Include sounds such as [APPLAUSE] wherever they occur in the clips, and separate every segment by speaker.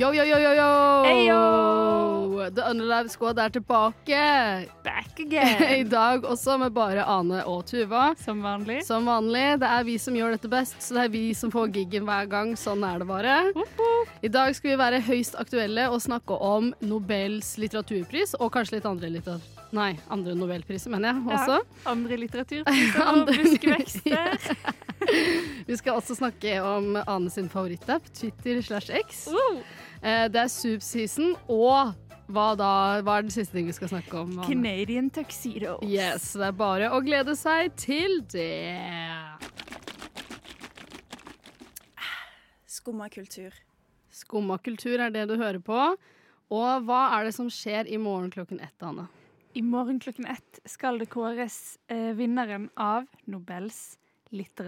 Speaker 1: Yo, yo, yo, yo, yo!
Speaker 2: Heyo!
Speaker 1: The Underlive Squad er tilbake!
Speaker 2: Back
Speaker 1: I
Speaker 2: again!
Speaker 1: dag også med bare Ane og Tuva.
Speaker 2: [LAUGHS] Som vanlig.
Speaker 1: Som vanlig, det er vi som gjør dette best, så det er vi som får giggen hver gang. Sånn er det bare. I dag skal vi være høyst aktuelle og snakke om Nobels litteraturpris, og kanskje litt andre litter... Nei, andre nobelpriser, mener jeg
Speaker 2: Ja.
Speaker 1: også.
Speaker 2: Andre
Speaker 1: [LAUGHS]
Speaker 2: litteraturpriser og
Speaker 1: Andre-
Speaker 2: buskvekster.
Speaker 1: Vi skal også snakke om Ane sin favorittapp, Twitter slash X. [LAUGHS]
Speaker 2: Oh,
Speaker 1: Eh, Det er Soup-season, og hva, da, hva er den siste ting vi skal snakke om? Ane?
Speaker 2: Canadian tuxedo.
Speaker 1: Yes, det er bare å glede seg til det.
Speaker 3: Skumma kultur.
Speaker 1: Skumma kultur er det du hører på. Og hva er det som skjer i morgen klokken ett, Anne?
Speaker 2: I morgen klokken ett skal det kåres eh, vinneren av Nobels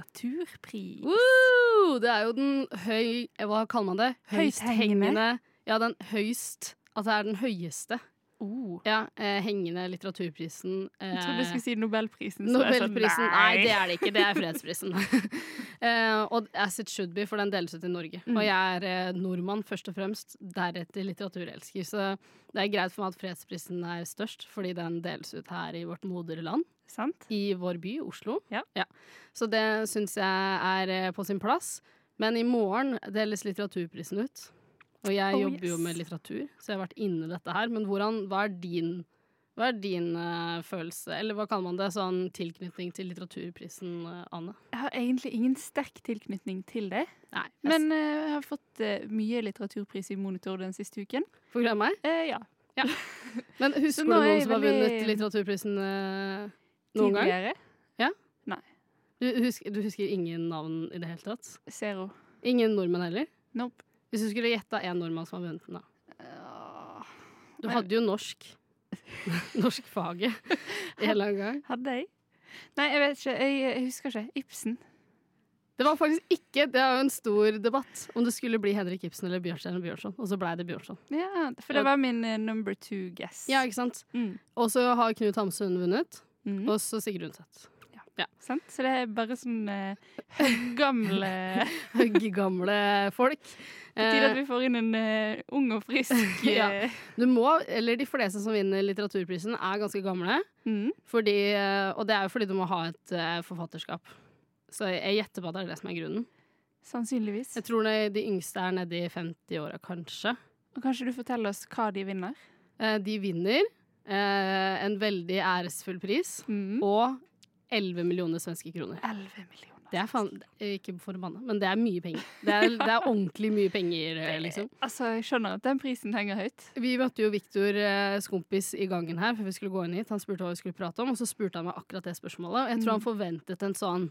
Speaker 2: litteraturpris.
Speaker 1: Woo! Det er jo den høy... eh, Hva kaller man det?
Speaker 2: Høysthengende.
Speaker 1: Høysthengende- Ja, den høyst... At det er den høyeste
Speaker 2: Oh.
Speaker 1: ja, eh, hengende litteraturprisen. Eh,
Speaker 2: Jeg trodde du skulle si Nobelprisen. så jeg sånn, sa
Speaker 1: Nobelprisen. Nei. det er det ikke. Det er
Speaker 2: [LAUGHS]
Speaker 1: fredsprisen. Eh, og as it should be, for den deles ut i Norge.
Speaker 2: Mm.
Speaker 1: Og jeg er eh, nordmann først og fremst, deretter litteraturelsker. Så det er greit for meg at fredsprisen er størst, fordi den deles ut her i vårt moderland.
Speaker 2: Sant?
Speaker 1: I vår by, Oslo.
Speaker 2: Ja.
Speaker 1: Så det syns jeg er eh, på sin plass. Men i morgen deles litteraturprisen ut. Og jeg
Speaker 2: Oh,
Speaker 1: jobber jo
Speaker 2: yes.
Speaker 1: med litteratur, så jeg har vært inne i dette her. Men hvordan, hva er din hva er din eh, følelse, eller hva kaller man det, sånn tilknytning til litteraturprisen, eh, Anne?
Speaker 2: Jeg har egentlig ingen sterk tilknytning til det,
Speaker 1: Nei,
Speaker 2: men eh, jeg har fått eh, mye litteraturpris i Monitor den siste uken.
Speaker 1: På grunn av meg?
Speaker 2: Eh, ja.
Speaker 1: Men husker
Speaker 2: Så
Speaker 1: du
Speaker 2: nå er
Speaker 1: noen
Speaker 2: jeg
Speaker 1: som har
Speaker 2: veldig-
Speaker 1: vunnet litteraturprisen eh, noen gang?
Speaker 2: Tidligere.
Speaker 1: Du husker, du husker ingen navn i det hele tatt?
Speaker 2: Zero.
Speaker 1: Ingen nordmenn heller?
Speaker 2: Nope.
Speaker 1: Hvis du skulle gjetta én nordmann som har vunnet den, da?
Speaker 2: Åh,
Speaker 1: Du
Speaker 2: Nei.
Speaker 1: hadde jo norsk. [LAUGHS] Norskfaget [LAUGHS] en eller annen gang.
Speaker 2: hadde jeg? Nei, jeg vet ikke. Jeg, jeg husker ikke. Ibsen.
Speaker 1: Det var faktisk ikke Det er jo en stor debatt om det skulle bli Henrik Ibsen eller Bjørnstjerne Bjørnson, og så blei det Bjørnson.
Speaker 2: Ja, for
Speaker 1: Og-
Speaker 2: det var min eh, number two guess.
Speaker 1: Ja, ikke sant?
Speaker 2: Mm.
Speaker 1: Og så har Knut Hamsun vunnet,
Speaker 2: Mm.
Speaker 1: og så Sigrid Undset. [LAUGHS]
Speaker 2: Sant? Så det er bare sånn uh, gamle
Speaker 1: Eh. Høggamle folk.
Speaker 2: På tide at
Speaker 1: Eh,
Speaker 2: vi får inn en eh, ung og frisk
Speaker 1: [LAUGHS] Ja.
Speaker 2: eh,
Speaker 1: du må, eller de fleste som vinner litteraturprisen, er ganske gamle.
Speaker 2: mm.
Speaker 1: Fordi, eh, og det er jo fordi du må ha et eh, forfatterskap. Så jeg- jeg gjetter på at det er det som er grunnen.
Speaker 2: Sannsynligvis.
Speaker 1: Jeg tror det, de yngste er nede i 50-åra, kanskje.
Speaker 2: Og kanskje du forteller oss hva de vinner?
Speaker 1: Eh, De vinner eh, en veldig æresfull pris
Speaker 2: Mm.
Speaker 1: og 11 millioner svenske kroner.
Speaker 2: 11 millioner.
Speaker 1: Det er faen Ikke for å banne, men det er mye penger. Det er, det er ordentlig mye penger, eh, liksom.
Speaker 2: Altså, Jeg skjønner at den prisen henger høyt.
Speaker 1: Vi møtte jo Viktor eh, skompis i gangen her før vi skulle gå inn hit. Han spurte hva vi skulle prate om, og så spurte han meg akkurat det spørsmålet. Og jeg
Speaker 2: Mm.
Speaker 1: tror han forventet en sånn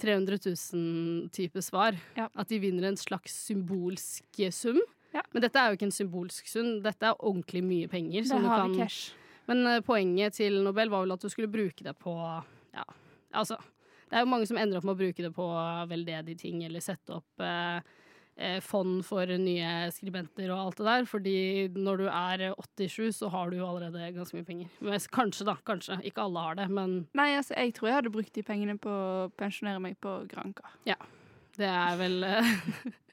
Speaker 1: 300 000-type svar.
Speaker 2: Ja.
Speaker 1: At de vinner en slags symbolsk sum.
Speaker 2: Ja.
Speaker 1: Men dette er jo ikke en symbolsk sum, dette er ordentlig mye penger.
Speaker 2: Det
Speaker 1: som du
Speaker 2: har
Speaker 1: kan-
Speaker 2: vi cash.
Speaker 1: Men eh, poenget til Nobel var vel at du skulle bruke det på Ja, altså. Det er jo mange som ender opp med å bruke det på eh, veldedige ting, eller sette opp eh, eh, fond for nye skribenter og alt det der. Fordi når du er 87, så har du jo allerede ganske mye penger. Men s- Kanskje, da. Kanskje. Ikke alle har det, men
Speaker 2: Nei, altså, jeg tror jeg hadde brukt de pengene på å pensjonere meg på Granca.
Speaker 1: det er vel eh, [LAUGHS]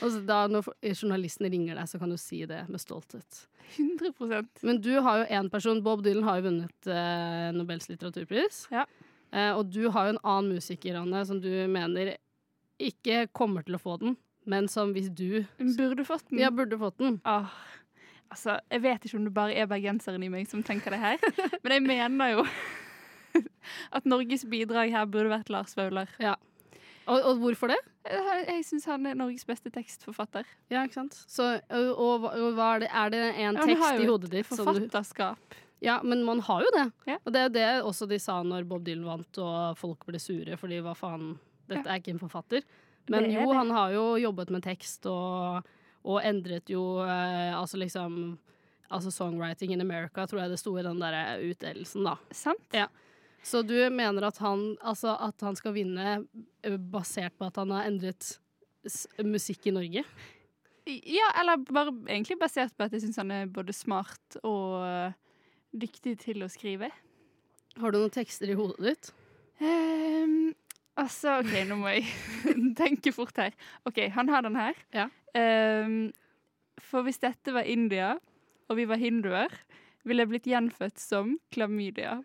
Speaker 1: Altså, da når f- journalisten ringer deg, så kan du si det med stolthet.
Speaker 2: 100
Speaker 1: Men du har jo én person. Bob Dylan har jo vunnet eh, Nobels litteraturpris.
Speaker 2: Ja.
Speaker 1: Eh, og du har jo en annen musiker, Anne, som du mener ikke kommer til å få den, men som hvis du
Speaker 2: Burde fått den.
Speaker 1: Ja, burde fått den.
Speaker 2: Åh, altså, jeg vet ikke om det bare er bergenseren i meg som tenker det her, men jeg mener jo [LAUGHS] at Norges bidrag her burde vært Lars Vaular.
Speaker 1: Og, og hvorfor det?
Speaker 2: Jeg, jeg syns han er Norges beste tekstforfatter.
Speaker 1: Ja, ikke sant? Så, og, og, hva- og hva er, det, er det en
Speaker 2: Ja, han
Speaker 1: tekst
Speaker 2: har jo
Speaker 1: i
Speaker 2: et
Speaker 1: hodet ditt som du
Speaker 2: Forfatterskap.
Speaker 1: Ja, men man har jo det.
Speaker 2: Ja.
Speaker 1: Og det er jo det også de sa når Bob Dylan vant og folk ble sure fordi hva faen, dette er ikke en forfatter. Men
Speaker 2: Det er
Speaker 1: jo,
Speaker 2: det.
Speaker 1: han har jo jobbet med tekst og, og endret jo eh, altså liksom Altså Songwriting in America, tror jeg det sto i den der utdelelsen, da.
Speaker 2: Sant?
Speaker 1: Ja. Så du mener at han, altså at han skal vinne eh, basert på at han har endret s musikk i Norge?
Speaker 2: Ja, eller bare egentlig basert på at jeg syns han er både smart og eh, Dyktig til å skrive.
Speaker 1: Har du noen tekster i hodet ditt?
Speaker 2: Ehm, altså, OK, nå må jeg [LAUGHS] tenke fort her. OK, han har den her.
Speaker 1: Ja.
Speaker 2: Ehm, for hvis dette var India, og vi var hinduer, ville jeg blitt gjenfødt som klamydia.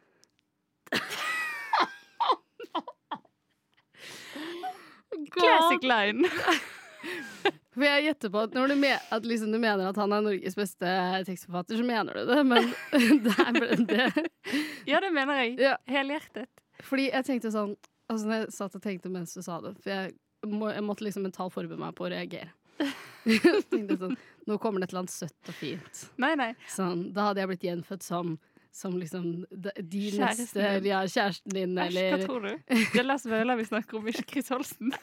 Speaker 2: Classic line.
Speaker 1: For jeg gjetter på at når du, me at liksom du mener at han er Norges beste tekstforfatter, så mener du det, men [LAUGHS] det er bare det.
Speaker 2: [LAUGHS] Ja, det mener jeg.
Speaker 1: Ja.
Speaker 2: Helhjertet.
Speaker 1: Fordi jeg tenkte sånn Altså når jeg satt og tenkte mens du sa det, for jeg, må, jeg måtte liksom mentalt forberede meg på å reagere. [LAUGHS] Jeg tenkte sånn, Nå kommer det et eller annet søtt og fint.
Speaker 2: Nei, nei.
Speaker 1: Sånn, da hadde jeg blitt gjenfødt som som liksom de, de
Speaker 2: Kjæresten
Speaker 1: neste
Speaker 2: din.
Speaker 1: ja, Kjæresten din,
Speaker 2: Æsj, hva
Speaker 1: eller [LAUGHS]
Speaker 2: tror du? Det er Lars Vaular vi snakker om, ikke Chris Holsten.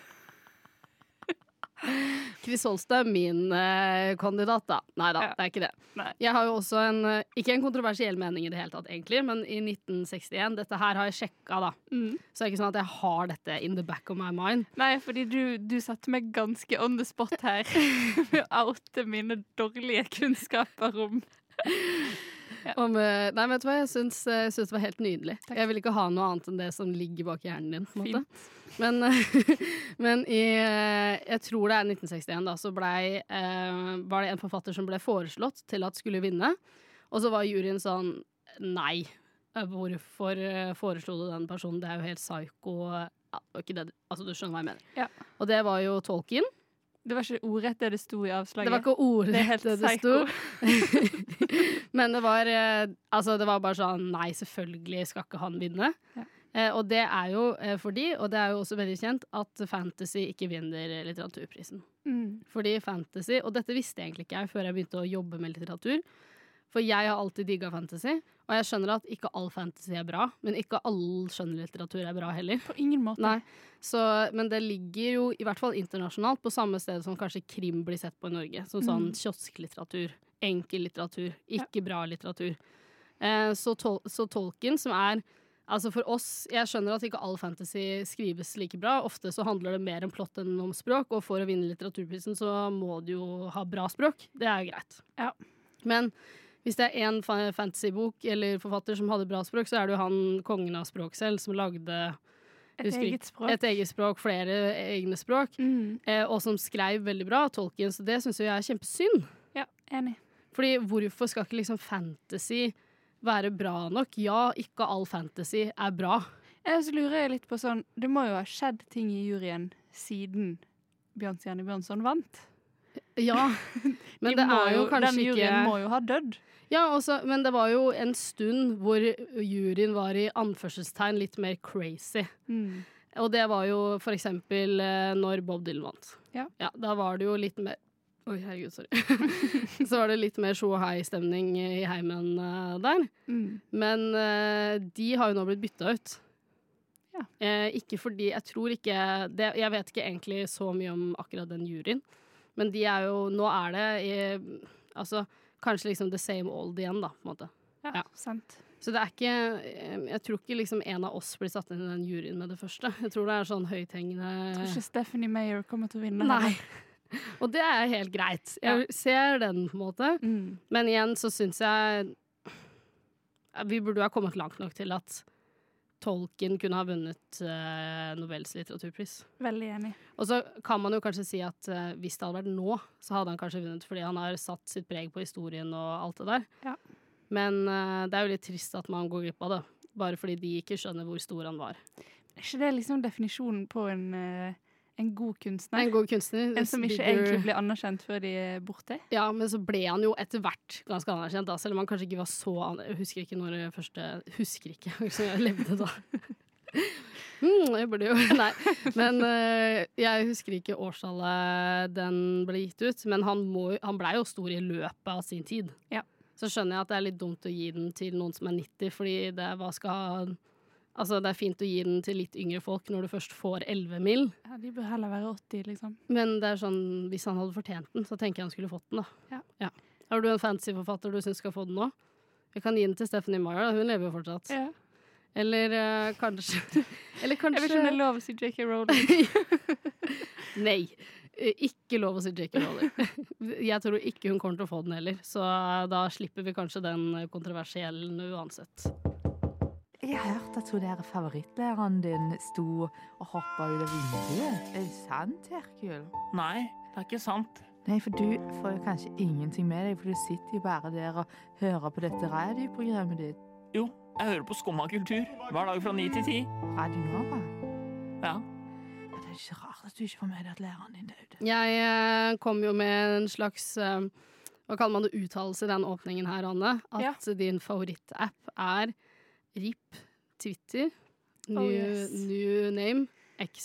Speaker 1: Chris Holstad er min eh, kandidat, da. Nei da,
Speaker 2: Ja.
Speaker 1: det er ikke det.
Speaker 2: Nei.
Speaker 1: Jeg har jo også en eh, Ikke en kontroversiell mening i det hele tatt, egentlig, men i 1961 Dette her har jeg sjekka, da.
Speaker 2: Mm.
Speaker 1: Så det er ikke sånn at jeg har dette in the back of my mind.
Speaker 2: Nei, fordi du, du satte meg ganske on the spot [LAUGHS] her med å oute mine dårlige kunnskaper om
Speaker 1: Om, eh, nei, vet du hva, jeg syns, eh, jeg syns det var helt nydelig. Jeg vil ikke ha noe annet enn det som ligger bak hjernen din. på en måte. Men, [LAUGHS] men i eh, Jeg tror det er 1961, da, så blei, eh, var det en forfatter som ble foreslått til at skulle vinne. Og så var juryen sånn Nei. Eh, Hvorfor eh, foreslo du den personen? Det er jo helt psyko. Ja, det var ikke det. du- Altså, du skjønner hva jeg mener.
Speaker 2: Ja.
Speaker 1: Og det var jo Tolkien.
Speaker 2: Det var ikke ordrett det det sto i avslaget.
Speaker 1: Det var ikke
Speaker 2: Det er helt
Speaker 1: ordrett det det sto. [LAUGHS]
Speaker 2: psyko.
Speaker 1: Men det var, eh, altså, det var bare sånn Nei, selvfølgelig skal ikke han vinne.
Speaker 2: Ja.
Speaker 1: Eh, og det er jo eh, fordi, og det er jo også veldig kjent, at fantasy ikke vinner litteraturprisen.
Speaker 2: Mm.
Speaker 1: Fordi fantasy, og dette visste jeg egentlig ikke jeg før jeg begynte å jobbe med litteratur. For jeg har alltid digga fantasy, og jeg skjønner at ikke all fantasy er bra. Men ikke all skjønnlitteratur er bra heller.
Speaker 2: På ingen måte.
Speaker 1: Nei. Så, men det ligger jo, i hvert fall internasjonalt, på samme sted som kanskje krim blir sett på i Norge. Som sånn
Speaker 2: Mm.
Speaker 1: kiosklitteratur. Enkel litteratur. Ikke bra litteratur. Eh, så, tol så tolken, som er Altså for oss, Jeg skjønner at ikke all fantasy skrives like bra. Ofte så handler det mer om plott enn om språk, og for å vinne litteraturprisen så må du jo ha bra språk. Det er jo greit.
Speaker 2: Ja.
Speaker 1: Men hvis det er én fa- fantasybok eller forfatter som hadde bra språk, så er det jo han kongen av språk selv som lagde
Speaker 2: Et
Speaker 1: Husker
Speaker 2: eget språk.
Speaker 1: et eget språk, flere egne språk,
Speaker 2: Mm.
Speaker 1: eh, og som skrev veldig bra, Tolkien, så det syns jo jeg er kjempesynd.
Speaker 2: Ja, enig.
Speaker 1: Fordi hvorfor skal ikke liksom fantasy være bra nok? Ja, ikke all fantasy er bra.
Speaker 2: Jeg så lurer jeg litt på sånn Det må jo ha skjedd ting i juryen siden Bjørns Janne Bjørnson vant.
Speaker 1: Ja,
Speaker 2: [LAUGHS]
Speaker 1: men
Speaker 2: De
Speaker 1: det
Speaker 2: må
Speaker 1: er jo kanskje
Speaker 2: Den juryen
Speaker 1: ikke
Speaker 2: må jo ha dødd.
Speaker 1: Ja, også, men det var jo en stund hvor juryen var i anførselstegn litt mer crazy.
Speaker 2: Mm.
Speaker 1: Og det var jo for eksempel eh, når Bob Dylan vant.
Speaker 2: Ja.
Speaker 1: Da var det jo litt mer Oi, herregud, sorry. [LAUGHS] så var det litt mer sjo og hei-stemning i heimen eh, der.
Speaker 2: Mm.
Speaker 1: Men eh, de har jo nå blitt bytta ut.
Speaker 2: Ja.
Speaker 1: Eh, ikke fordi Jeg tror ikke det, Jeg vet ikke egentlig så mye om akkurat den juryen, men de er jo Nå er det i, altså, kanskje liksom the same old igjen, da, på en måte.
Speaker 2: Ja,
Speaker 1: Ja.
Speaker 2: sant.
Speaker 1: Så det er ikke eh, Jeg tror ikke liksom en av oss blir satt inn i den juryen med det første. Jeg tror det er sånn
Speaker 2: Jeg tror
Speaker 1: høythengende [LAUGHS]
Speaker 2: ikke Stephanie Mayer kommer til å vinne.
Speaker 1: Nei.
Speaker 2: heller.
Speaker 1: Og det er helt greit. Jeg ser den, på en måte.
Speaker 2: Mm.
Speaker 1: Men igjen så syns jeg ja, Vi burde jo ha kommet langt nok til at Tolkien kunne ha vunnet eh, Nobels litteraturpris.
Speaker 2: Veldig enig.
Speaker 1: Og så kan man jo kanskje si at eh, hvis det hadde vært nå, så hadde han kanskje vunnet fordi han har satt sitt preg på historien og alt det der.
Speaker 2: Ja.
Speaker 1: Men eh, det er jo litt trist at man går glipp av det. Bare fordi de ikke skjønner hvor stor han var.
Speaker 2: Er ikke det liksom definisjonen på en, eh, en god kunstner?
Speaker 1: En god kunstner.
Speaker 2: En som ikke
Speaker 1: bigger-
Speaker 2: egentlig blir anerkjent før de er borte?
Speaker 1: Ja, men så ble han jo etter hvert ganske anerkjent, da, selv om han kanskje ikke var så aner... Jeg husker ikke når det første Husker ikke [LAUGHS] hvordan jeg levde da. Mm, jeg burde jo [LAUGHS] Nei. Men eh, jeg husker ikke årstallet den ble gitt ut. Men han, må, jo- han blei jo stor i løpet av sin tid.
Speaker 2: Ja.
Speaker 1: Så skjønner jeg at det er litt dumt å gi den til noen som er 90, fordi det, hva skal, altså, det er fint å gi den til litt yngre folk når du først får 11 mill.
Speaker 2: Ja, De bør heller være 80, liksom.
Speaker 1: Men det er sånn, hvis han hadde fortjent den, så tenker jeg han skulle fått den. da.
Speaker 2: Ja.
Speaker 1: Har du en fantasyforfatter du syns skal få den nå? Jeg kan gi den til Stephanie Meyer, da. hun lever jo fortsatt. Eller eh, kanskje [LAUGHS] Eller
Speaker 2: Jeg vet ikke om det er
Speaker 1: kanskje
Speaker 2: lov å si J.K. Rowling.
Speaker 1: [LAUGHS] Nei. Eh, Ikke lov å si J.K. Rowling. [LAUGHS] Jeg tror ikke hun kommer til å få den heller, så eh, da slipper vi kanskje den kontroversiellen uansett.
Speaker 4: Jeg har hørt at hun der favorittlæreren din sto og hoppa ut av vinduet. Er det sant, Herkul?
Speaker 5: Nei, det er ikke sant.
Speaker 4: Nei, for du får jo kanskje ingenting med deg, for du sitter jo bare der og hører på dette radioprogrammet ditt.
Speaker 5: Jo, jeg hører på Skumma kultur hver dag fra ni til ti.
Speaker 4: Radio Nova.
Speaker 5: Ja.
Speaker 4: Ja, Det er ikke rart at du ikke får med deg at læreren din døde.
Speaker 1: Jeg eh, kom jo med en slags eh, Hva kaller man det? Uttalelse i den åpningen her, Anne. At din favorittapp er RIP Twitter. New,
Speaker 2: Oh, yes.
Speaker 1: new name X.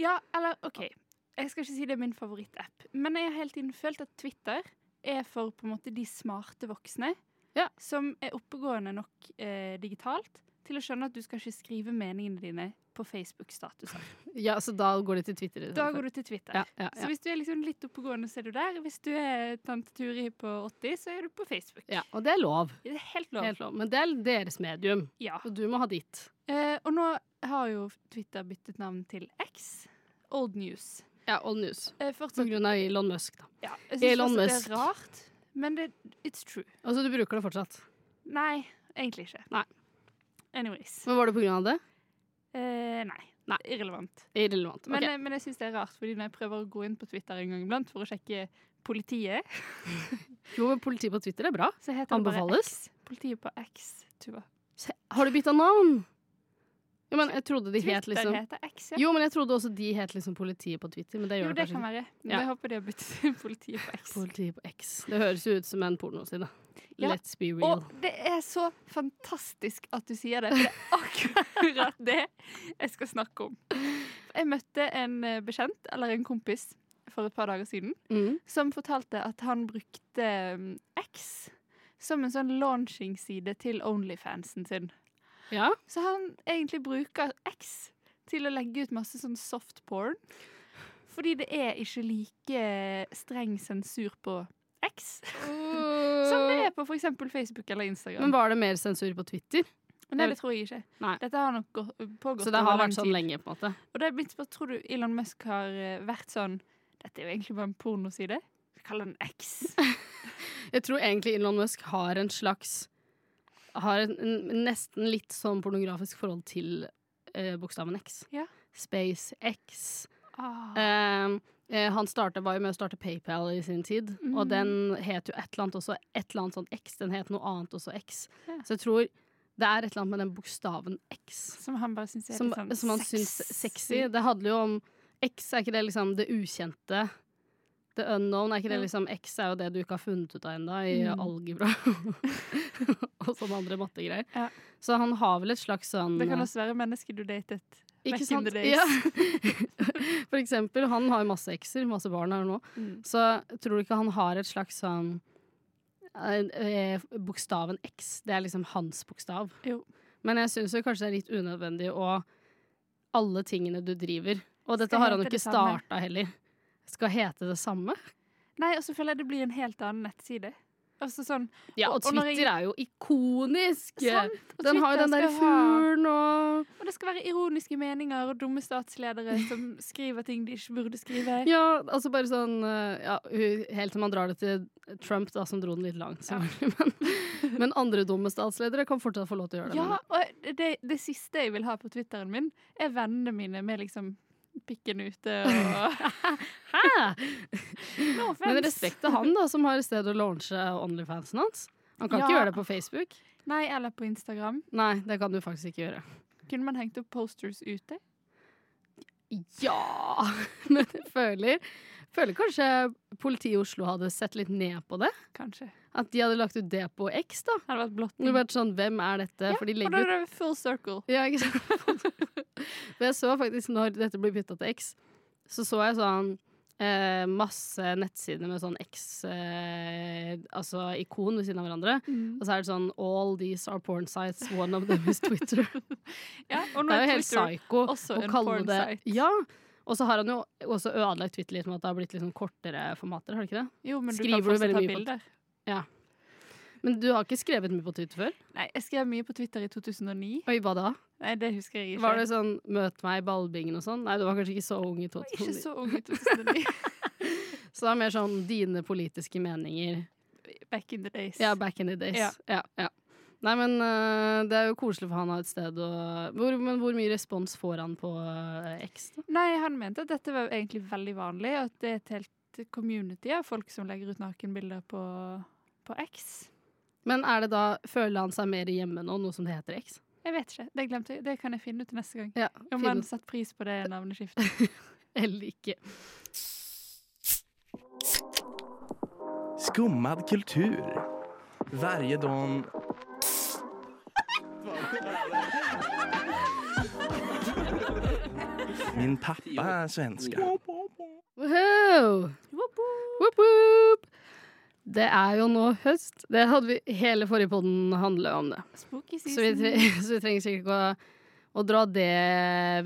Speaker 2: Ja, eller OK. Jeg skal ikke si det er min favorittapp, men jeg har hele tiden følt at Twitter er for på en måte de smarte voksne
Speaker 1: Ja.
Speaker 2: som er oppegående nok eh, digitalt til å skjønne at du skal ikke skrive meningene dine på Facebook-statuser.
Speaker 1: Ja, så da går det til Twitter. i
Speaker 2: Da
Speaker 1: stedet for.
Speaker 2: går du til Twitter.
Speaker 1: ja, ja,
Speaker 2: Så
Speaker 1: ja.
Speaker 2: hvis du er liksom litt oppegående, så er du der. Hvis du er tante Turi på 80, så er du på Facebook.
Speaker 1: ja, og det er lov.
Speaker 2: Det er helt lov.
Speaker 1: Helt lov. Men det er deres medium,
Speaker 2: Ja.
Speaker 1: og du må ha ditt.
Speaker 2: Eh, og nå har jo Twitter byttet navn til X. Old News.
Speaker 1: Ja, Old News.
Speaker 2: Eh,
Speaker 1: På
Speaker 2: fortsatt,
Speaker 1: grunn av Elon Musk, da.
Speaker 2: ja, jeg synes
Speaker 1: Elon
Speaker 2: fortsatt
Speaker 1: Musk.
Speaker 2: Det er rart, men det, it's true.
Speaker 1: Altså, du bruker det fortsatt.
Speaker 2: Nei, egentlig ikke.
Speaker 1: Nei.
Speaker 2: Anyways.
Speaker 1: Men var det på grunn av det?
Speaker 2: Eh, nei.
Speaker 1: Nei.
Speaker 2: Irrelevant.
Speaker 1: Irrelevant.
Speaker 2: Men,
Speaker 1: Ok.
Speaker 2: eh, men jeg syns det er rart, fordi når jeg prøver å gå inn på Twitter en gang iblant for å sjekke politiet,
Speaker 1: Jo, men politi på Twitter er bra.
Speaker 2: så heter det bare
Speaker 1: Anbefales?
Speaker 2: X. Politiet på X, Tuva.
Speaker 1: Se, Har du bytta navn? Jo, men jeg trodde de het
Speaker 2: Twitter
Speaker 1: liksom
Speaker 2: heter X, ja.
Speaker 1: Jo, men jeg trodde også de het liksom politiet på Twitter, men det
Speaker 2: Jo,
Speaker 1: gjør
Speaker 2: det
Speaker 1: det
Speaker 2: kan
Speaker 1: kanskje ikke.
Speaker 2: være. Men
Speaker 1: Ja.
Speaker 2: jeg håper de har byttet til [LAUGHS] politiet på X.
Speaker 1: Politiet på X. Det høres jo ut som en pornoside.
Speaker 2: Ja,
Speaker 1: Let's be real.
Speaker 2: Og det er så fantastisk at du sier det, for det er akkurat [LAUGHS] det jeg skal snakke om. Jeg møtte en eh, bekjent, eller en kompis, for et par dager siden,
Speaker 1: Mm.
Speaker 2: som fortalte at han brukte mm, X som en sånn launchingside til Onlyfansen sin.
Speaker 1: Ja.
Speaker 2: Så han egentlig bruker X til å legge ut masse sånn softporn. Fordi det er ikke like streng sensur på X som
Speaker 1: Øh.
Speaker 2: det er på f.eks. Facebook eller Instagram.
Speaker 1: Men var det mer sensur på Twitter?
Speaker 2: Nei, det tror jeg ikke.
Speaker 1: Nei.
Speaker 2: Dette har nok gå- pågått
Speaker 1: Så det har
Speaker 2: over lang
Speaker 1: vært sånn
Speaker 2: tid.
Speaker 1: lenge, på en måte.
Speaker 2: Og det er mitt spørsmål, tror du Elon Musk har eh, vært sånn Dette er jo egentlig bare en pornoside. Vi kaller den X.
Speaker 1: [LAUGHS] Jeg tror egentlig Elon Musk har en slags Har en, en nesten litt sånn pornografisk forhold til eh, bokstaven X.
Speaker 2: Ja.
Speaker 1: Space X.
Speaker 2: Ah.
Speaker 1: Ehm, eh, han startet, var jo med å starte PayPal i sin tid, og
Speaker 2: Mm.
Speaker 1: den het jo et eller annet også et eller annet sånn X. Den het noe annet også X.
Speaker 2: Ja.
Speaker 1: Så jeg tror det er et eller annet med den bokstaven X
Speaker 2: Som han bare syns er
Speaker 1: som,
Speaker 2: litt sånn
Speaker 1: som han syns sexy. Det handler jo om X, er ikke det liksom det ukjente? The unknown, er ikke det
Speaker 2: Ja.
Speaker 1: liksom X er jo det du ikke har funnet ut av ennå i
Speaker 2: Mm.
Speaker 1: algebra [LAUGHS] og sånne andre mattegreier.
Speaker 2: Ja.
Speaker 1: Så han har vel et slags sånn
Speaker 2: Det kan også være mennesker du datet.
Speaker 1: ikke
Speaker 2: Back in
Speaker 1: sant?
Speaker 2: the days.
Speaker 1: Ja.
Speaker 2: [LAUGHS]
Speaker 1: For eksempel, han har jo masse ekser, masse barn her nå.
Speaker 2: Mm.
Speaker 1: Så tror du ikke han har et slags sånn eh, eh, Bokstaven X, det er liksom hans bokstav.
Speaker 2: Jo.
Speaker 1: Men jeg syns kanskje det er litt unødvendig å Alle tingene du driver Og dette
Speaker 2: Skal
Speaker 1: har han jo
Speaker 2: hete
Speaker 1: ikke
Speaker 2: det samme.
Speaker 1: starta heller. Skal hete det samme.
Speaker 2: Nei, og så føler jeg det blir en helt annen nettside. Altså sånn
Speaker 1: Ja, og
Speaker 2: Og- og når jeg-
Speaker 1: Twitter er jo ikonisk!
Speaker 2: sant, og
Speaker 1: Den har jo
Speaker 2: Twitter
Speaker 1: den der
Speaker 2: skal ha-
Speaker 1: fuglen og
Speaker 2: Og det skal være ironiske meninger og dumme statsledere som skriver ting de ikke burde skrive.
Speaker 1: Ja, altså bare sånn eh, ja, hu- Helt til man drar det til Trump, da, som dro den litt langt. selvfølgelig. [LAUGHS] Men, men andre dumme statsledere kan fortsatt få lov til å gjøre det.
Speaker 2: Ja,
Speaker 1: mener jeg.
Speaker 2: og det, det siste jeg vil ha på Twitteren min, er vennene mine med liksom pikken ute
Speaker 1: [LAUGHS]
Speaker 2: og
Speaker 1: Hæ? Men
Speaker 2: No offense.
Speaker 1: respekt til han, da, som har et sted å launche Onlyfansen hans. Han kan ikke
Speaker 2: Ja.
Speaker 1: gjøre det på Facebook.
Speaker 2: Nei, eller på Instagram.
Speaker 1: Nei, det kan du faktisk ikke gjøre.
Speaker 2: Kunne man hengt opp posters ute?
Speaker 1: Ja! [LAUGHS] Men jeg føler, føler kanskje politiet i Oslo hadde sett litt ned på det.
Speaker 2: Kanskje.
Speaker 1: At de hadde lagt ut det på X, da.
Speaker 2: Hadde vært blått.
Speaker 1: Det hadde vært sånn, hvem er dette? For de
Speaker 2: og da
Speaker 1: legger ut
Speaker 2: er det full circle.
Speaker 1: Ja, ikke sant? [LAUGHS] For jeg så faktisk, når dette ble bytta til X, så så jeg sånn eh, masse nettsider med sånn X eh, Altså ikon ved siden av hverandre. Og så er det sånn All these are porn sites, one of them is
Speaker 2: [LAUGHS]
Speaker 1: Twitter.
Speaker 2: Ja, og nå
Speaker 1: Det er jo
Speaker 2: er
Speaker 1: helt
Speaker 2: Twitter
Speaker 1: psycho
Speaker 2: også
Speaker 1: å
Speaker 2: en
Speaker 1: kalle
Speaker 2: porn
Speaker 1: det
Speaker 2: site.
Speaker 1: Ja. Og så har han jo også ødelagt Twitter litt med at det har blitt litt sånn kortere formater, har det ikke det?
Speaker 2: Jo, men du
Speaker 1: Skriver
Speaker 2: kan
Speaker 1: du veldig
Speaker 2: fortsatt ta
Speaker 1: mye på-
Speaker 2: bilder.
Speaker 1: Men du har ikke skrevet mye på Twitter før?
Speaker 2: Nei, jeg skrev mye på Twitter i 2009.
Speaker 1: Oi, hva da?
Speaker 2: Nei, det husker jeg ikke.
Speaker 1: Var det sånn 'møt meg i ballbingen' og sånn? Nei, du var kanskje ikke så ung i
Speaker 2: Jeg var ikke
Speaker 1: 2009.
Speaker 2: så ung i
Speaker 1: [LAUGHS]
Speaker 2: 2009.
Speaker 1: Så det er mer sånn dine politiske meninger.
Speaker 2: Back in the days.
Speaker 1: Ja, back in the days. Ja.
Speaker 2: Ja.
Speaker 1: Ja, Nei, men øh, det er jo koselig for han å ha et sted å hvor, Men hvor mye respons får han på øh, X, da?
Speaker 2: Nei, han mente at dette var egentlig veldig vanlig, at det er et helt community av folk som legger ut nakenbilder på, på X.
Speaker 1: Men er det da Føler han seg mer hjemme nå, nå som det heter X?
Speaker 2: Jeg vet ikke, det glemte jeg. Det kan jeg finne ut til neste gang.
Speaker 1: Ja,
Speaker 2: Om
Speaker 1: fin-
Speaker 2: han satte pris på
Speaker 1: [LAUGHS]
Speaker 2: det navneskiftet.
Speaker 1: Eller ikke.
Speaker 6: Skummad kultur. Varje dag... Min pappa är svenska.
Speaker 1: Wow! Woop, woop. Det er jo nå høst. Det hadde vi Hele forrige podden handla om det.
Speaker 2: Spooky
Speaker 1: Så vi, tre [LAUGHS]
Speaker 2: season.
Speaker 1: så vi trenger sikkert ikke å, å dra det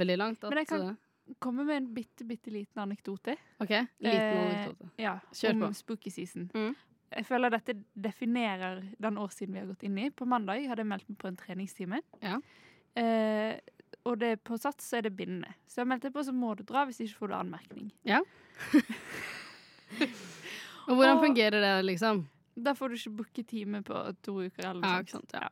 Speaker 1: veldig langt. At, eh,
Speaker 2: Men jeg kan- Kommer med en bitte, bitte liten anekdote.
Speaker 1: OK, liten
Speaker 2: Eh,
Speaker 1: anekdote.
Speaker 2: Ja,
Speaker 1: Kjør
Speaker 2: om
Speaker 1: på.
Speaker 2: spooky season.
Speaker 1: Mm.
Speaker 2: Jeg føler dette definerer den årssiden vi har gått inn i. På mandag hadde jeg meldt meg på en treningstime.
Speaker 1: Ja.
Speaker 2: Eh, og det på sats så er det bindende. Så jeg meldte deg på, så må du dra hvis ikke får du anmerkning.
Speaker 1: Og hvordan
Speaker 2: Og-
Speaker 1: fungerer det, liksom?
Speaker 2: Da får du ikke booke time på to uker eller noe
Speaker 1: Ja, ikke
Speaker 2: sånt.
Speaker 1: sant, ja.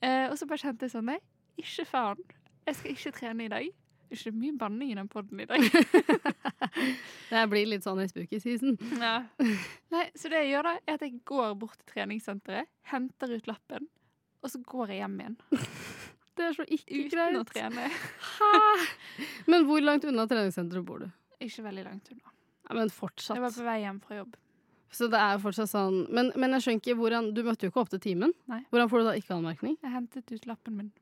Speaker 2: Eh, og så bare kjente jeg sånn, nei, ikke faen. Jeg skal ikke trene i dag. Det er ikke mye banning i den podden i [LAUGHS] dag.
Speaker 1: Det her blir litt sånn i spooky season.
Speaker 2: Nei, så det jeg gjør da, er at jeg går bort til treningssenteret, henter ut lappen, og så går jeg hjem igjen.
Speaker 1: Det er så ikke
Speaker 2: Uten å
Speaker 1: greit.
Speaker 2: trene.
Speaker 1: Men hvor langt unna treningssenteret bor du?
Speaker 2: Ikke veldig langt unna.
Speaker 1: Ja, men
Speaker 2: Jeg var
Speaker 1: fortsatt.
Speaker 2: på vei hjem fra jobb.
Speaker 1: Så det er fortsatt sånn Men, men jeg skjønner ikke hvordan Du møtte jo ikke opp til timen.
Speaker 2: Nei.
Speaker 1: Hvordan får du da ikke anmerkning?
Speaker 2: Jeg hentet ut lappen min.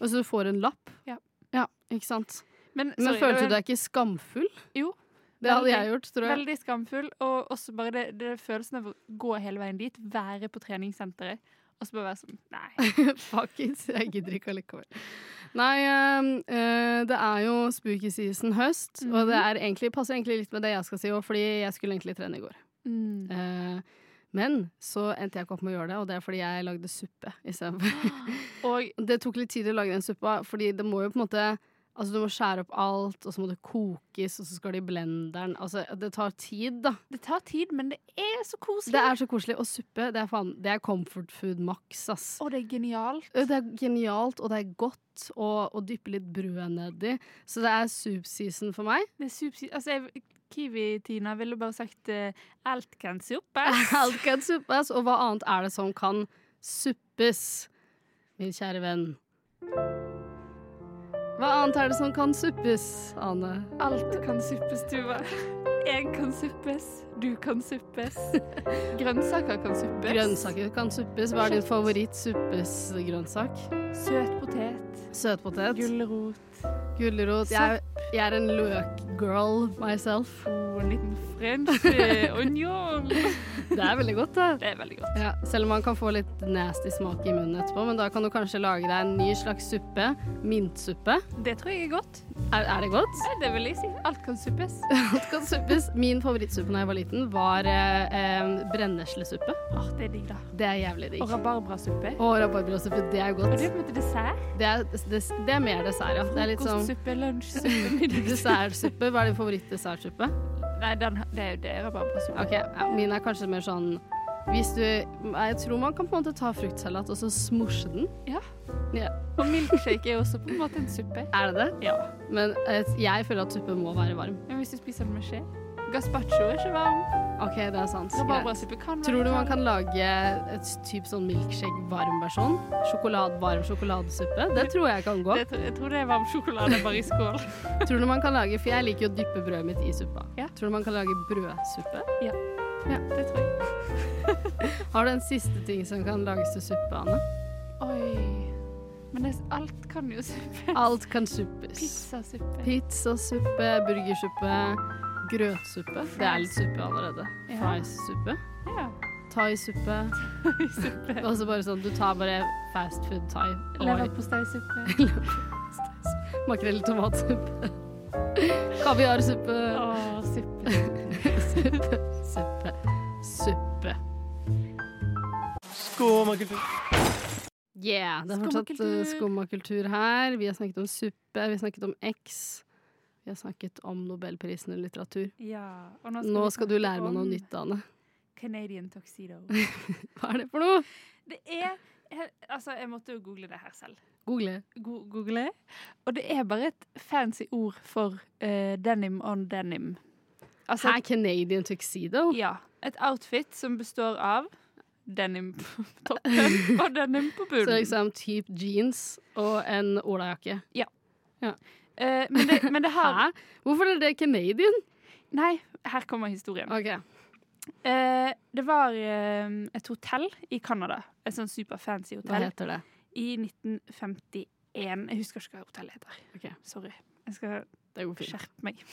Speaker 1: Og så du får en lapp?
Speaker 2: Ja.
Speaker 1: ja ikke sant?
Speaker 2: Men,
Speaker 1: Men
Speaker 2: sorry,
Speaker 1: følte
Speaker 2: det
Speaker 1: du
Speaker 2: var
Speaker 1: deg ikke skamfull?
Speaker 2: Jo.
Speaker 1: Det hadde
Speaker 2: Veldig.
Speaker 1: jeg gjort, tror jeg.
Speaker 2: Veldig skamfull, og også bare det, det følelsen av å gå hele veien dit, være på treningssenteret, og så bare være sånn, nei.
Speaker 1: [LAUGHS] Fuck it, jeg gidder ikke allikevel. Nei, øhm, øh, det er jo spooky season høst, og det er egentlig, passer egentlig litt med det jeg skal si òg, fordi jeg skulle egentlig trene i går.
Speaker 2: [LAUGHS] Mm.
Speaker 1: Eh, men så endte jeg ikke opp med å gjøre det, og det er fordi jeg lagde suppe istedenfor.
Speaker 2: Og
Speaker 1: [LAUGHS] Det tok litt tid å lage den suppa, fordi det må jo på en måte Altså Du må skjære opp alt, og så må det kokes, og så skal det i blenderen. Altså, det tar tid, da.
Speaker 2: det tar tid, men det er så koselig.
Speaker 1: Det er så koselig. Og suppe, det er faen Det er comfort food max, ass.
Speaker 2: Og det er genialt.
Speaker 1: Øh, Det er genialt, og det er godt å, å dyppe litt brød nedi. Så det er soup-season for meg. [LAUGHS]
Speaker 2: Det er subsi- altså, jeg, Kiwi-Tina ville bare sagt eh, alt kan [LAUGHS] suppes.
Speaker 1: Alt kan suppes, og hva annet er det som kan suppes, min kjære venn? Hva annet er det som kan suppes, Ane?
Speaker 2: Alt kan suppes, Tuva. Jeg kan suppes, du kan [LAUGHS] suppes. Grønnsaker kan suppes.
Speaker 1: Grønnsaker kan suppes. Hva er din favoritt-suppes-grønnsak?
Speaker 2: Søt potet.
Speaker 1: Søtpotet?
Speaker 2: Gulrot.
Speaker 1: Gulrot? Jeg, jeg er en løk-girl myself.
Speaker 2: Og en liten french eh, onion.
Speaker 1: Det er veldig godt, da.
Speaker 2: Det er veldig godt.
Speaker 1: Ja, selv om man kan få litt nasty smak i munnen etterpå, men da kan du kanskje lage deg en ny slags suppe. Mintsuppe.
Speaker 2: Det tror jeg er godt.
Speaker 1: Er, er det godt?
Speaker 2: [LAUGHS] Nei, det vil jeg si. Alt kan suppes.
Speaker 1: Alt kan suppes. Min favorittsuppe da jeg var liten, var eh, eh, brenneslesuppe.
Speaker 2: Åh, det er digg, da.
Speaker 1: Det er jævlig
Speaker 2: Og
Speaker 1: digg.
Speaker 2: rabarbrasuppe.
Speaker 1: Og rabarbrasuppe, det er
Speaker 2: Og
Speaker 1: godt.
Speaker 2: det er på en måte dessert.
Speaker 1: Det er, det, det er mer dessert, ja. Det er litt sånn
Speaker 2: Kostsuppe, lunsjsuppe, middagssuppe.
Speaker 1: dessertsuppe. Hva er din favoritt-dessertsuppe?
Speaker 2: Nei, den, det er jo det er rabarbrasuppe.
Speaker 1: Ok, ja, Min er kanskje mer sånn hvis du, Jeg tror man kan på en måte ta fruktsalat og så smosje den.
Speaker 2: Og milkshake er også på en måte en suppe.
Speaker 1: Er det det?
Speaker 2: Ja.
Speaker 1: Men eh, jeg føler at suppe må være varm.
Speaker 2: Men hvis du spiser den med skje Gazpacho er ikke varm.
Speaker 1: OK, det er sant. Greit.
Speaker 2: Rabarbrasuppe kan være
Speaker 1: Tror du man kan
Speaker 2: kald.
Speaker 1: lage et typ sånn milkshake varm versjon? Sjokolade, varm sjokoladesuppe? Det tror jeg kan gå.
Speaker 2: Det tror- Jeg tror det er varm sjokolade bare i
Speaker 1: [LAUGHS]
Speaker 2: skål.
Speaker 1: Tror du man kan lage, For jeg liker jo å dyppe brødet mitt i suppa.
Speaker 2: Ja.
Speaker 1: Tror du man kan lage brødsuppe?
Speaker 2: Det tror jeg.
Speaker 1: Har du en siste ting som kan lages til suppe, Anne?
Speaker 2: Oi. Men det, alt kan jo suppe.
Speaker 1: Alt kan suppes.
Speaker 2: Pizzasuppe.
Speaker 1: Pizzasuppe, burgersuppe, grøtsuppe. Det er litt suppe allerede.
Speaker 2: Ja.
Speaker 1: Fries-suppe.
Speaker 2: Ja. [LAUGHS]
Speaker 1: Thai-suppe.
Speaker 2: Suppe.
Speaker 1: Og så bare sånn, du tar bare fast food thai og
Speaker 2: Leverposteisuppe.
Speaker 1: [LAUGHS] makrell i tomatsuppe. [LAUGHS] Kaviarsuppe.
Speaker 2: Å, suppe.
Speaker 1: Suppe. Suppe. Suppe.
Speaker 6: Skummad Skummakultur.
Speaker 1: Yeah, det er fortsatt
Speaker 2: Skummakultur.
Speaker 1: eh, skummakultur her. Vi har snakket om suppe, vi har snakket om X. Vi har snakket om nobelprisen i litteratur.
Speaker 2: Ja, og nå
Speaker 1: Nå
Speaker 2: vi
Speaker 1: skal du
Speaker 2: snakke
Speaker 1: lære meg noe
Speaker 2: om
Speaker 1: nytt, Ane.
Speaker 2: Canadian tuxedo.
Speaker 1: [LAUGHS] Hva er det for noe?
Speaker 2: Det er he- Altså, jeg måtte jo google det her selv.
Speaker 1: Google.
Speaker 2: Go google. Og det er bare et fancy ord for eh, denim on denim. Altså
Speaker 1: Her Canadian tuxedo.
Speaker 2: Ja. Et outfit som består av denim på
Speaker 1: [LAUGHS]
Speaker 2: toppen og denim på
Speaker 1: Så
Speaker 2: bunnen.
Speaker 1: liksom type jeans og en olajakke.
Speaker 2: Eh, men, det, men det har
Speaker 1: Hæ? Hvorfor er det Canadian?
Speaker 2: Nei, her kommer historien.
Speaker 1: Ok,
Speaker 2: Eh, det var eh, et hotell i Canada. Et sånn superfancy
Speaker 1: Hva
Speaker 2: hotell.
Speaker 1: heter det?
Speaker 2: I 1951. Jeg husker ikke hva hotellet heter.
Speaker 1: Ok.
Speaker 2: Sorry. Jeg skal
Speaker 1: Det går fint.
Speaker 2: skjerpe meg.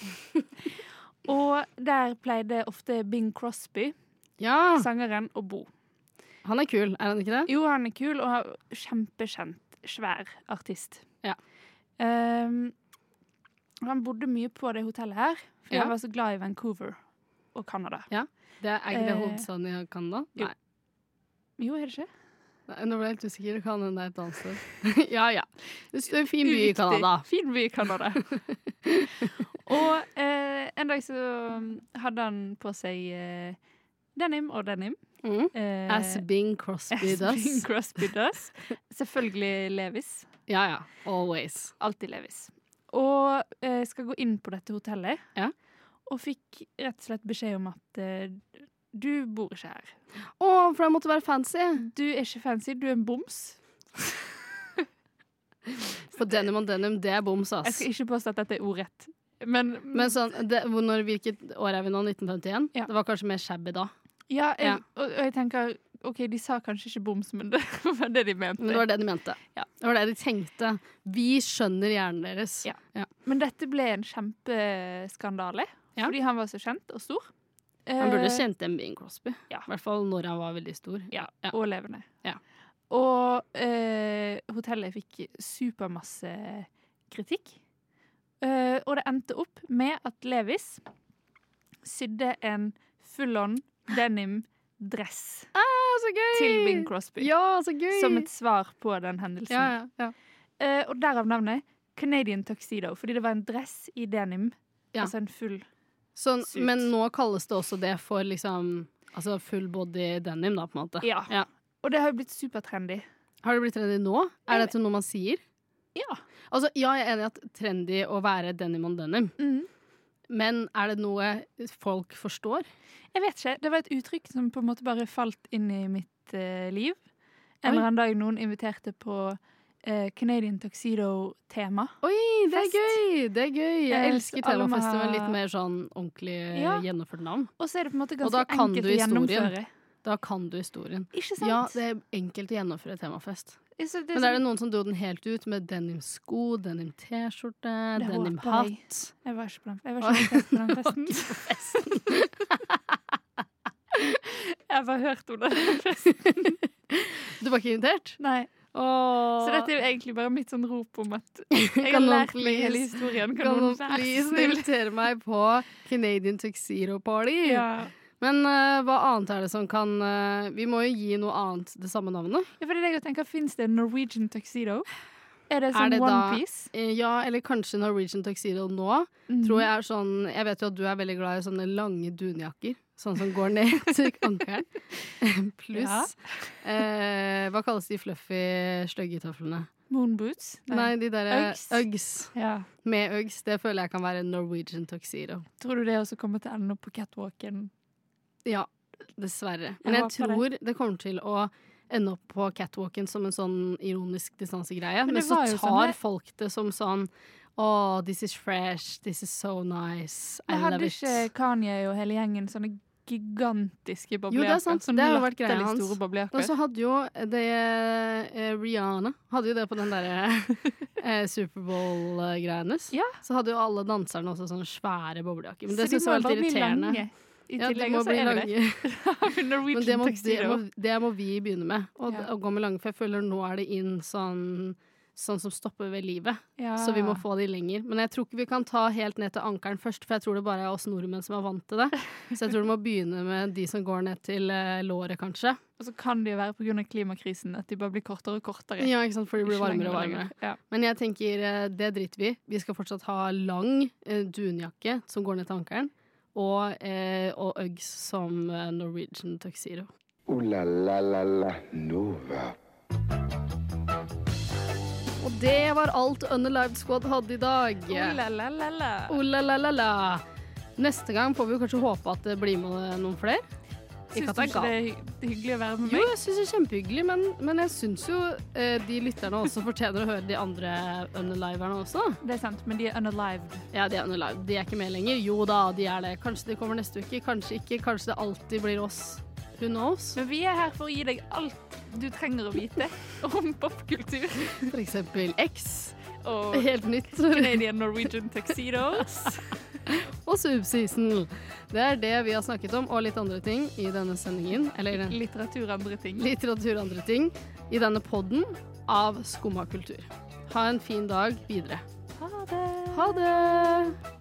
Speaker 2: [LAUGHS] og der pleide ofte Bing Crosby,
Speaker 1: Ja,
Speaker 2: sangeren, å bo.
Speaker 1: han er kul, er han ikke det?
Speaker 2: Jo, han er kul og har kjempekjent, svær artist.
Speaker 1: Ja.
Speaker 2: Ehm, han bodde mye på det hotellet her, fordi
Speaker 1: Ja.
Speaker 2: han var så glad i Vancouver og Canada.
Speaker 1: Det er ikke det
Speaker 2: Eh,
Speaker 1: hovedstaden i Canada?
Speaker 2: jo.
Speaker 1: Nei.
Speaker 2: Jo, er det ikke?
Speaker 1: Nei, Nå ble jeg helt usikker. Det Kan hende det er et annet sted. [LAUGHS] ja ja. Det er en fin by i
Speaker 2: Uriktig.
Speaker 1: Canada.
Speaker 2: Fin by
Speaker 1: [LAUGHS]
Speaker 2: i Canada. og eh, en dag så um, hadde han på seg eh, denim og denim.
Speaker 1: Mm.
Speaker 2: Eh,
Speaker 1: As Bing Crosby
Speaker 2: as Bing
Speaker 1: does.
Speaker 2: Crosby does. Selvfølgelig Levis.
Speaker 1: Ja ja. Always.
Speaker 2: Alltid Levis. Og eh, skal gå inn på dette hotellet.
Speaker 1: Ja.
Speaker 2: Og fikk rett og slett beskjed om at eh, du bor ikke her.
Speaker 1: Å, for jeg måtte være fancy.
Speaker 2: Du er ikke fancy, du er en boms.
Speaker 1: For denim on denim, det er boms,
Speaker 2: Jeg
Speaker 1: ass.
Speaker 2: skal ikke påstå at dette er ordrett, men,
Speaker 1: Men sånn, det, hvor- når, hvilket år er vi nå? 1951?
Speaker 2: Ja.
Speaker 1: Det var kanskje mer shabby da.
Speaker 2: ja, jeg,
Speaker 1: Ja.
Speaker 2: Og, og jeg tenker OK, de sa kanskje ikke boms, men det [LAUGHS] var det de mente.
Speaker 1: Men det var det de mente.
Speaker 2: Ja.
Speaker 1: Det var det de tenkte. Vi skjønner hjernen deres.
Speaker 2: Ja. Men dette ble en kjempeskandale,
Speaker 1: Ja.
Speaker 2: fordi han var så kjent og stor.
Speaker 1: Han burde
Speaker 2: Eh,
Speaker 1: kjent igjen Bing Crosby.
Speaker 2: Ja.
Speaker 1: I hvert fall når han var veldig stor.
Speaker 2: Ja.
Speaker 1: Ja.
Speaker 2: og levende.
Speaker 1: Ja.
Speaker 2: Og eh, hotellet fikk supermasse kritikk. Eh, og det endte opp med at Levis sydde en full-on denim-dress
Speaker 1: Ja, så gøy!
Speaker 2: til Bing Crosby.
Speaker 1: Ja, så gøy!
Speaker 2: Som et svar på den hendelsen.
Speaker 1: ja, ja, ja.
Speaker 2: Eh, og derav navnet Canadian Tuxedo, fordi det var en dress i denim.
Speaker 1: Ja.
Speaker 2: Altså en full
Speaker 1: Sånn,
Speaker 2: Suit.
Speaker 1: men nå kalles det også det for liksom Altså full body denim, da, på en måte.
Speaker 2: Ja.
Speaker 1: Ja.
Speaker 2: Og det har jo blitt supertrendy.
Speaker 1: Har det blitt trendy nå? Er dette noe man sier?
Speaker 2: Ja.
Speaker 1: Altså, ja, jeg er enig i at trendy å være denim on denim, men er det noe folk forstår?
Speaker 2: Jeg vet ikke. Det var et uttrykk som på en måte bare falt inn i mitt eh, liv. En
Speaker 1: Oi.
Speaker 2: eller annen dag noen inviterte på eh, Canadian Tuxedo-tema.
Speaker 1: Oi, det er
Speaker 2: Fest.
Speaker 1: gøy! Det er gøy. Jeg
Speaker 2: Eh,
Speaker 1: elsker
Speaker 2: så alle må
Speaker 1: temafester med
Speaker 2: ha-
Speaker 1: litt mer sånn ordentlig
Speaker 2: Ja.
Speaker 1: gjennomført navn.
Speaker 2: Og så er det på en måte
Speaker 1: Og da
Speaker 2: ganske
Speaker 1: kan du
Speaker 2: enkelt å
Speaker 1: historien.
Speaker 2: gjennomføre.
Speaker 1: Da kan du historien.
Speaker 2: Ikke sant?
Speaker 1: Ja, det er enkelt å gjennomføre temafest.
Speaker 2: Så det
Speaker 1: Men er det
Speaker 2: sånn-
Speaker 1: noen som dro den helt ut med denim-sko, denim-T-skjorte,
Speaker 2: Det håper jeg.
Speaker 1: denim-hatt?
Speaker 2: sånn- Jeg var ikke på den, jeg var ikke invitert på
Speaker 1: [LAUGHS]
Speaker 2: den festen. [LAUGHS] Jeg har bare hørt om det.
Speaker 1: Du var ikke invitert?
Speaker 2: Nei.
Speaker 1: Åh.
Speaker 2: Så dette er jo egentlig bare mitt sånn rop om
Speaker 1: [LAUGHS]
Speaker 2: at jeg har
Speaker 1: noen
Speaker 2: lært meg
Speaker 1: please-
Speaker 2: hele historien. Kan,
Speaker 1: Kan noen
Speaker 2: være
Speaker 1: please
Speaker 2: snill?
Speaker 1: invitere meg på Canadian Tuxedo Party?
Speaker 2: Ja.
Speaker 1: Men eh, hva annet er det som kan eh, Vi må jo gi noe annet det samme navnet.
Speaker 2: ja, for det er det jeg tenker. Fins det en Norwegian tuxedo? Er det
Speaker 1: Er
Speaker 2: sånn
Speaker 1: det da-
Speaker 2: onepiece?
Speaker 1: Eh, Ja, eller kanskje Norwegian Tuxedo nå.
Speaker 2: Mhm. Mm.
Speaker 1: Tror jeg er sånn Jeg vet jo at du er veldig glad i sånne lange dunjakker. Sånn som går ned [LAUGHS] til ankelen. Pluss eh, Hva kalles de fluffy, stygge tøflene?
Speaker 2: Moonboots?
Speaker 1: Nei. de derre
Speaker 2: Uggs.
Speaker 1: Uggs.
Speaker 2: Ja.
Speaker 1: Med Uggs. Det føler jeg kan være Norwegian Tuxedo.
Speaker 2: Tror du det også kommer til å ende opp på catwalken?
Speaker 1: Ja, dessverre.
Speaker 2: Jeg
Speaker 1: Men jeg,
Speaker 2: håper
Speaker 1: tror det. kommer til å ende opp på catwalken som en sånn ironisk distansegreie.
Speaker 2: Men
Speaker 1: Men,
Speaker 2: det
Speaker 1: så
Speaker 2: var jo
Speaker 1: tar
Speaker 2: sånn det-
Speaker 1: folk det som sånn Oh, this is fresh. This is so nice. I
Speaker 2: Jeg
Speaker 1: love
Speaker 2: hadde
Speaker 1: it.
Speaker 2: ikke Kanye og hele gjengen sånne gigantiske boblejakker?
Speaker 1: det er sant.
Speaker 2: Sånne
Speaker 1: Det har jo vært greia
Speaker 2: latterlig
Speaker 1: hans.
Speaker 2: Store
Speaker 1: Og
Speaker 2: boblejakker.
Speaker 1: så hadde jo det eh, Rihanna hadde jo det på den
Speaker 2: [LAUGHS]
Speaker 1: derre eh, Superbowl-greia hennes.
Speaker 2: Ja.
Speaker 1: Så hadde jo alle danserne også sånne svære boblejakker. Men
Speaker 2: Så
Speaker 1: det
Speaker 2: de
Speaker 1: syns
Speaker 2: må
Speaker 1: jeg var
Speaker 2: bare
Speaker 1: litt
Speaker 2: bli
Speaker 1: irriterende.
Speaker 2: lange. I
Speaker 1: Ja, de
Speaker 2: tillegg,
Speaker 1: må
Speaker 2: og så
Speaker 1: bli
Speaker 2: er det det.
Speaker 1: lange. [LAUGHS] Men det
Speaker 2: Norwegian
Speaker 1: må, det,
Speaker 2: tuxedo.
Speaker 1: må, det må vi begynne med. Og,
Speaker 2: Ja.
Speaker 1: og gå med lange, for jeg føler nå er det inn sånn sånn som stopper ved livet.
Speaker 2: Ja.
Speaker 1: Så vi må få de lenger. Men jeg tror ikke vi kan ta helt ned til ankelen først, for jeg tror det bare er oss nordmenn som er vant til det. Så jeg tror du må begynne med de som går ned til eh, låret, kanskje.
Speaker 2: Og så kan det jo være pga. klimakrisen at de bare blir kortere og kortere.
Speaker 1: Ja, ikke sant, for de blir
Speaker 2: Ikke
Speaker 1: varmere
Speaker 2: lenger
Speaker 1: og varmere.
Speaker 2: lenger. Ja.
Speaker 1: Men jeg tenker, eh, det driter vi i. Vi skal fortsatt ha lang eh, dunjakke som går ned til ankelen, og, eh, og Uggs som eh, Norwegian tuxedo.
Speaker 7: Ooh la la la la Nova.
Speaker 1: Og det var alt Unalive Squad hadde i dag.
Speaker 2: Ola-la-la-la.
Speaker 1: Oh, Ola-la-la-la. Neste gang får vi jo kanskje håpe at det blir med eh, noen flere. Ikke
Speaker 2: Syns
Speaker 1: at
Speaker 2: du
Speaker 1: det er galt.
Speaker 2: ikke det er hy- hyggelig å være med
Speaker 1: Jo,
Speaker 2: meg?
Speaker 1: jeg syns det er kjempehyggelig, men, men jeg syns jo eh, de lytterne også fortjener å høre de andre unaliverne også.
Speaker 2: Det er sant, men de er unalived.
Speaker 1: Ja, de er unalive. De er ikke med lenger. Jo da, de er det. Kanskje de kommer neste uke, kanskje ikke. Kanskje det alltid blir oss. Who knows?
Speaker 2: Men vi er her for å gi deg alt du trenger å vite om popkultur
Speaker 1: For eksempel X.
Speaker 2: og
Speaker 1: Helt nytt.
Speaker 2: Canadian Norwegian tuxedos.
Speaker 1: Og subseason. Det er det vi har snakket om, og litt andre ting i denne sendingen. Eller i den
Speaker 2: Litteratur og andre ting.
Speaker 1: litteratur og andre ting i denne podden av Skumma kultur. Ha en fin dag videre.
Speaker 2: Ha det!
Speaker 1: Ha det!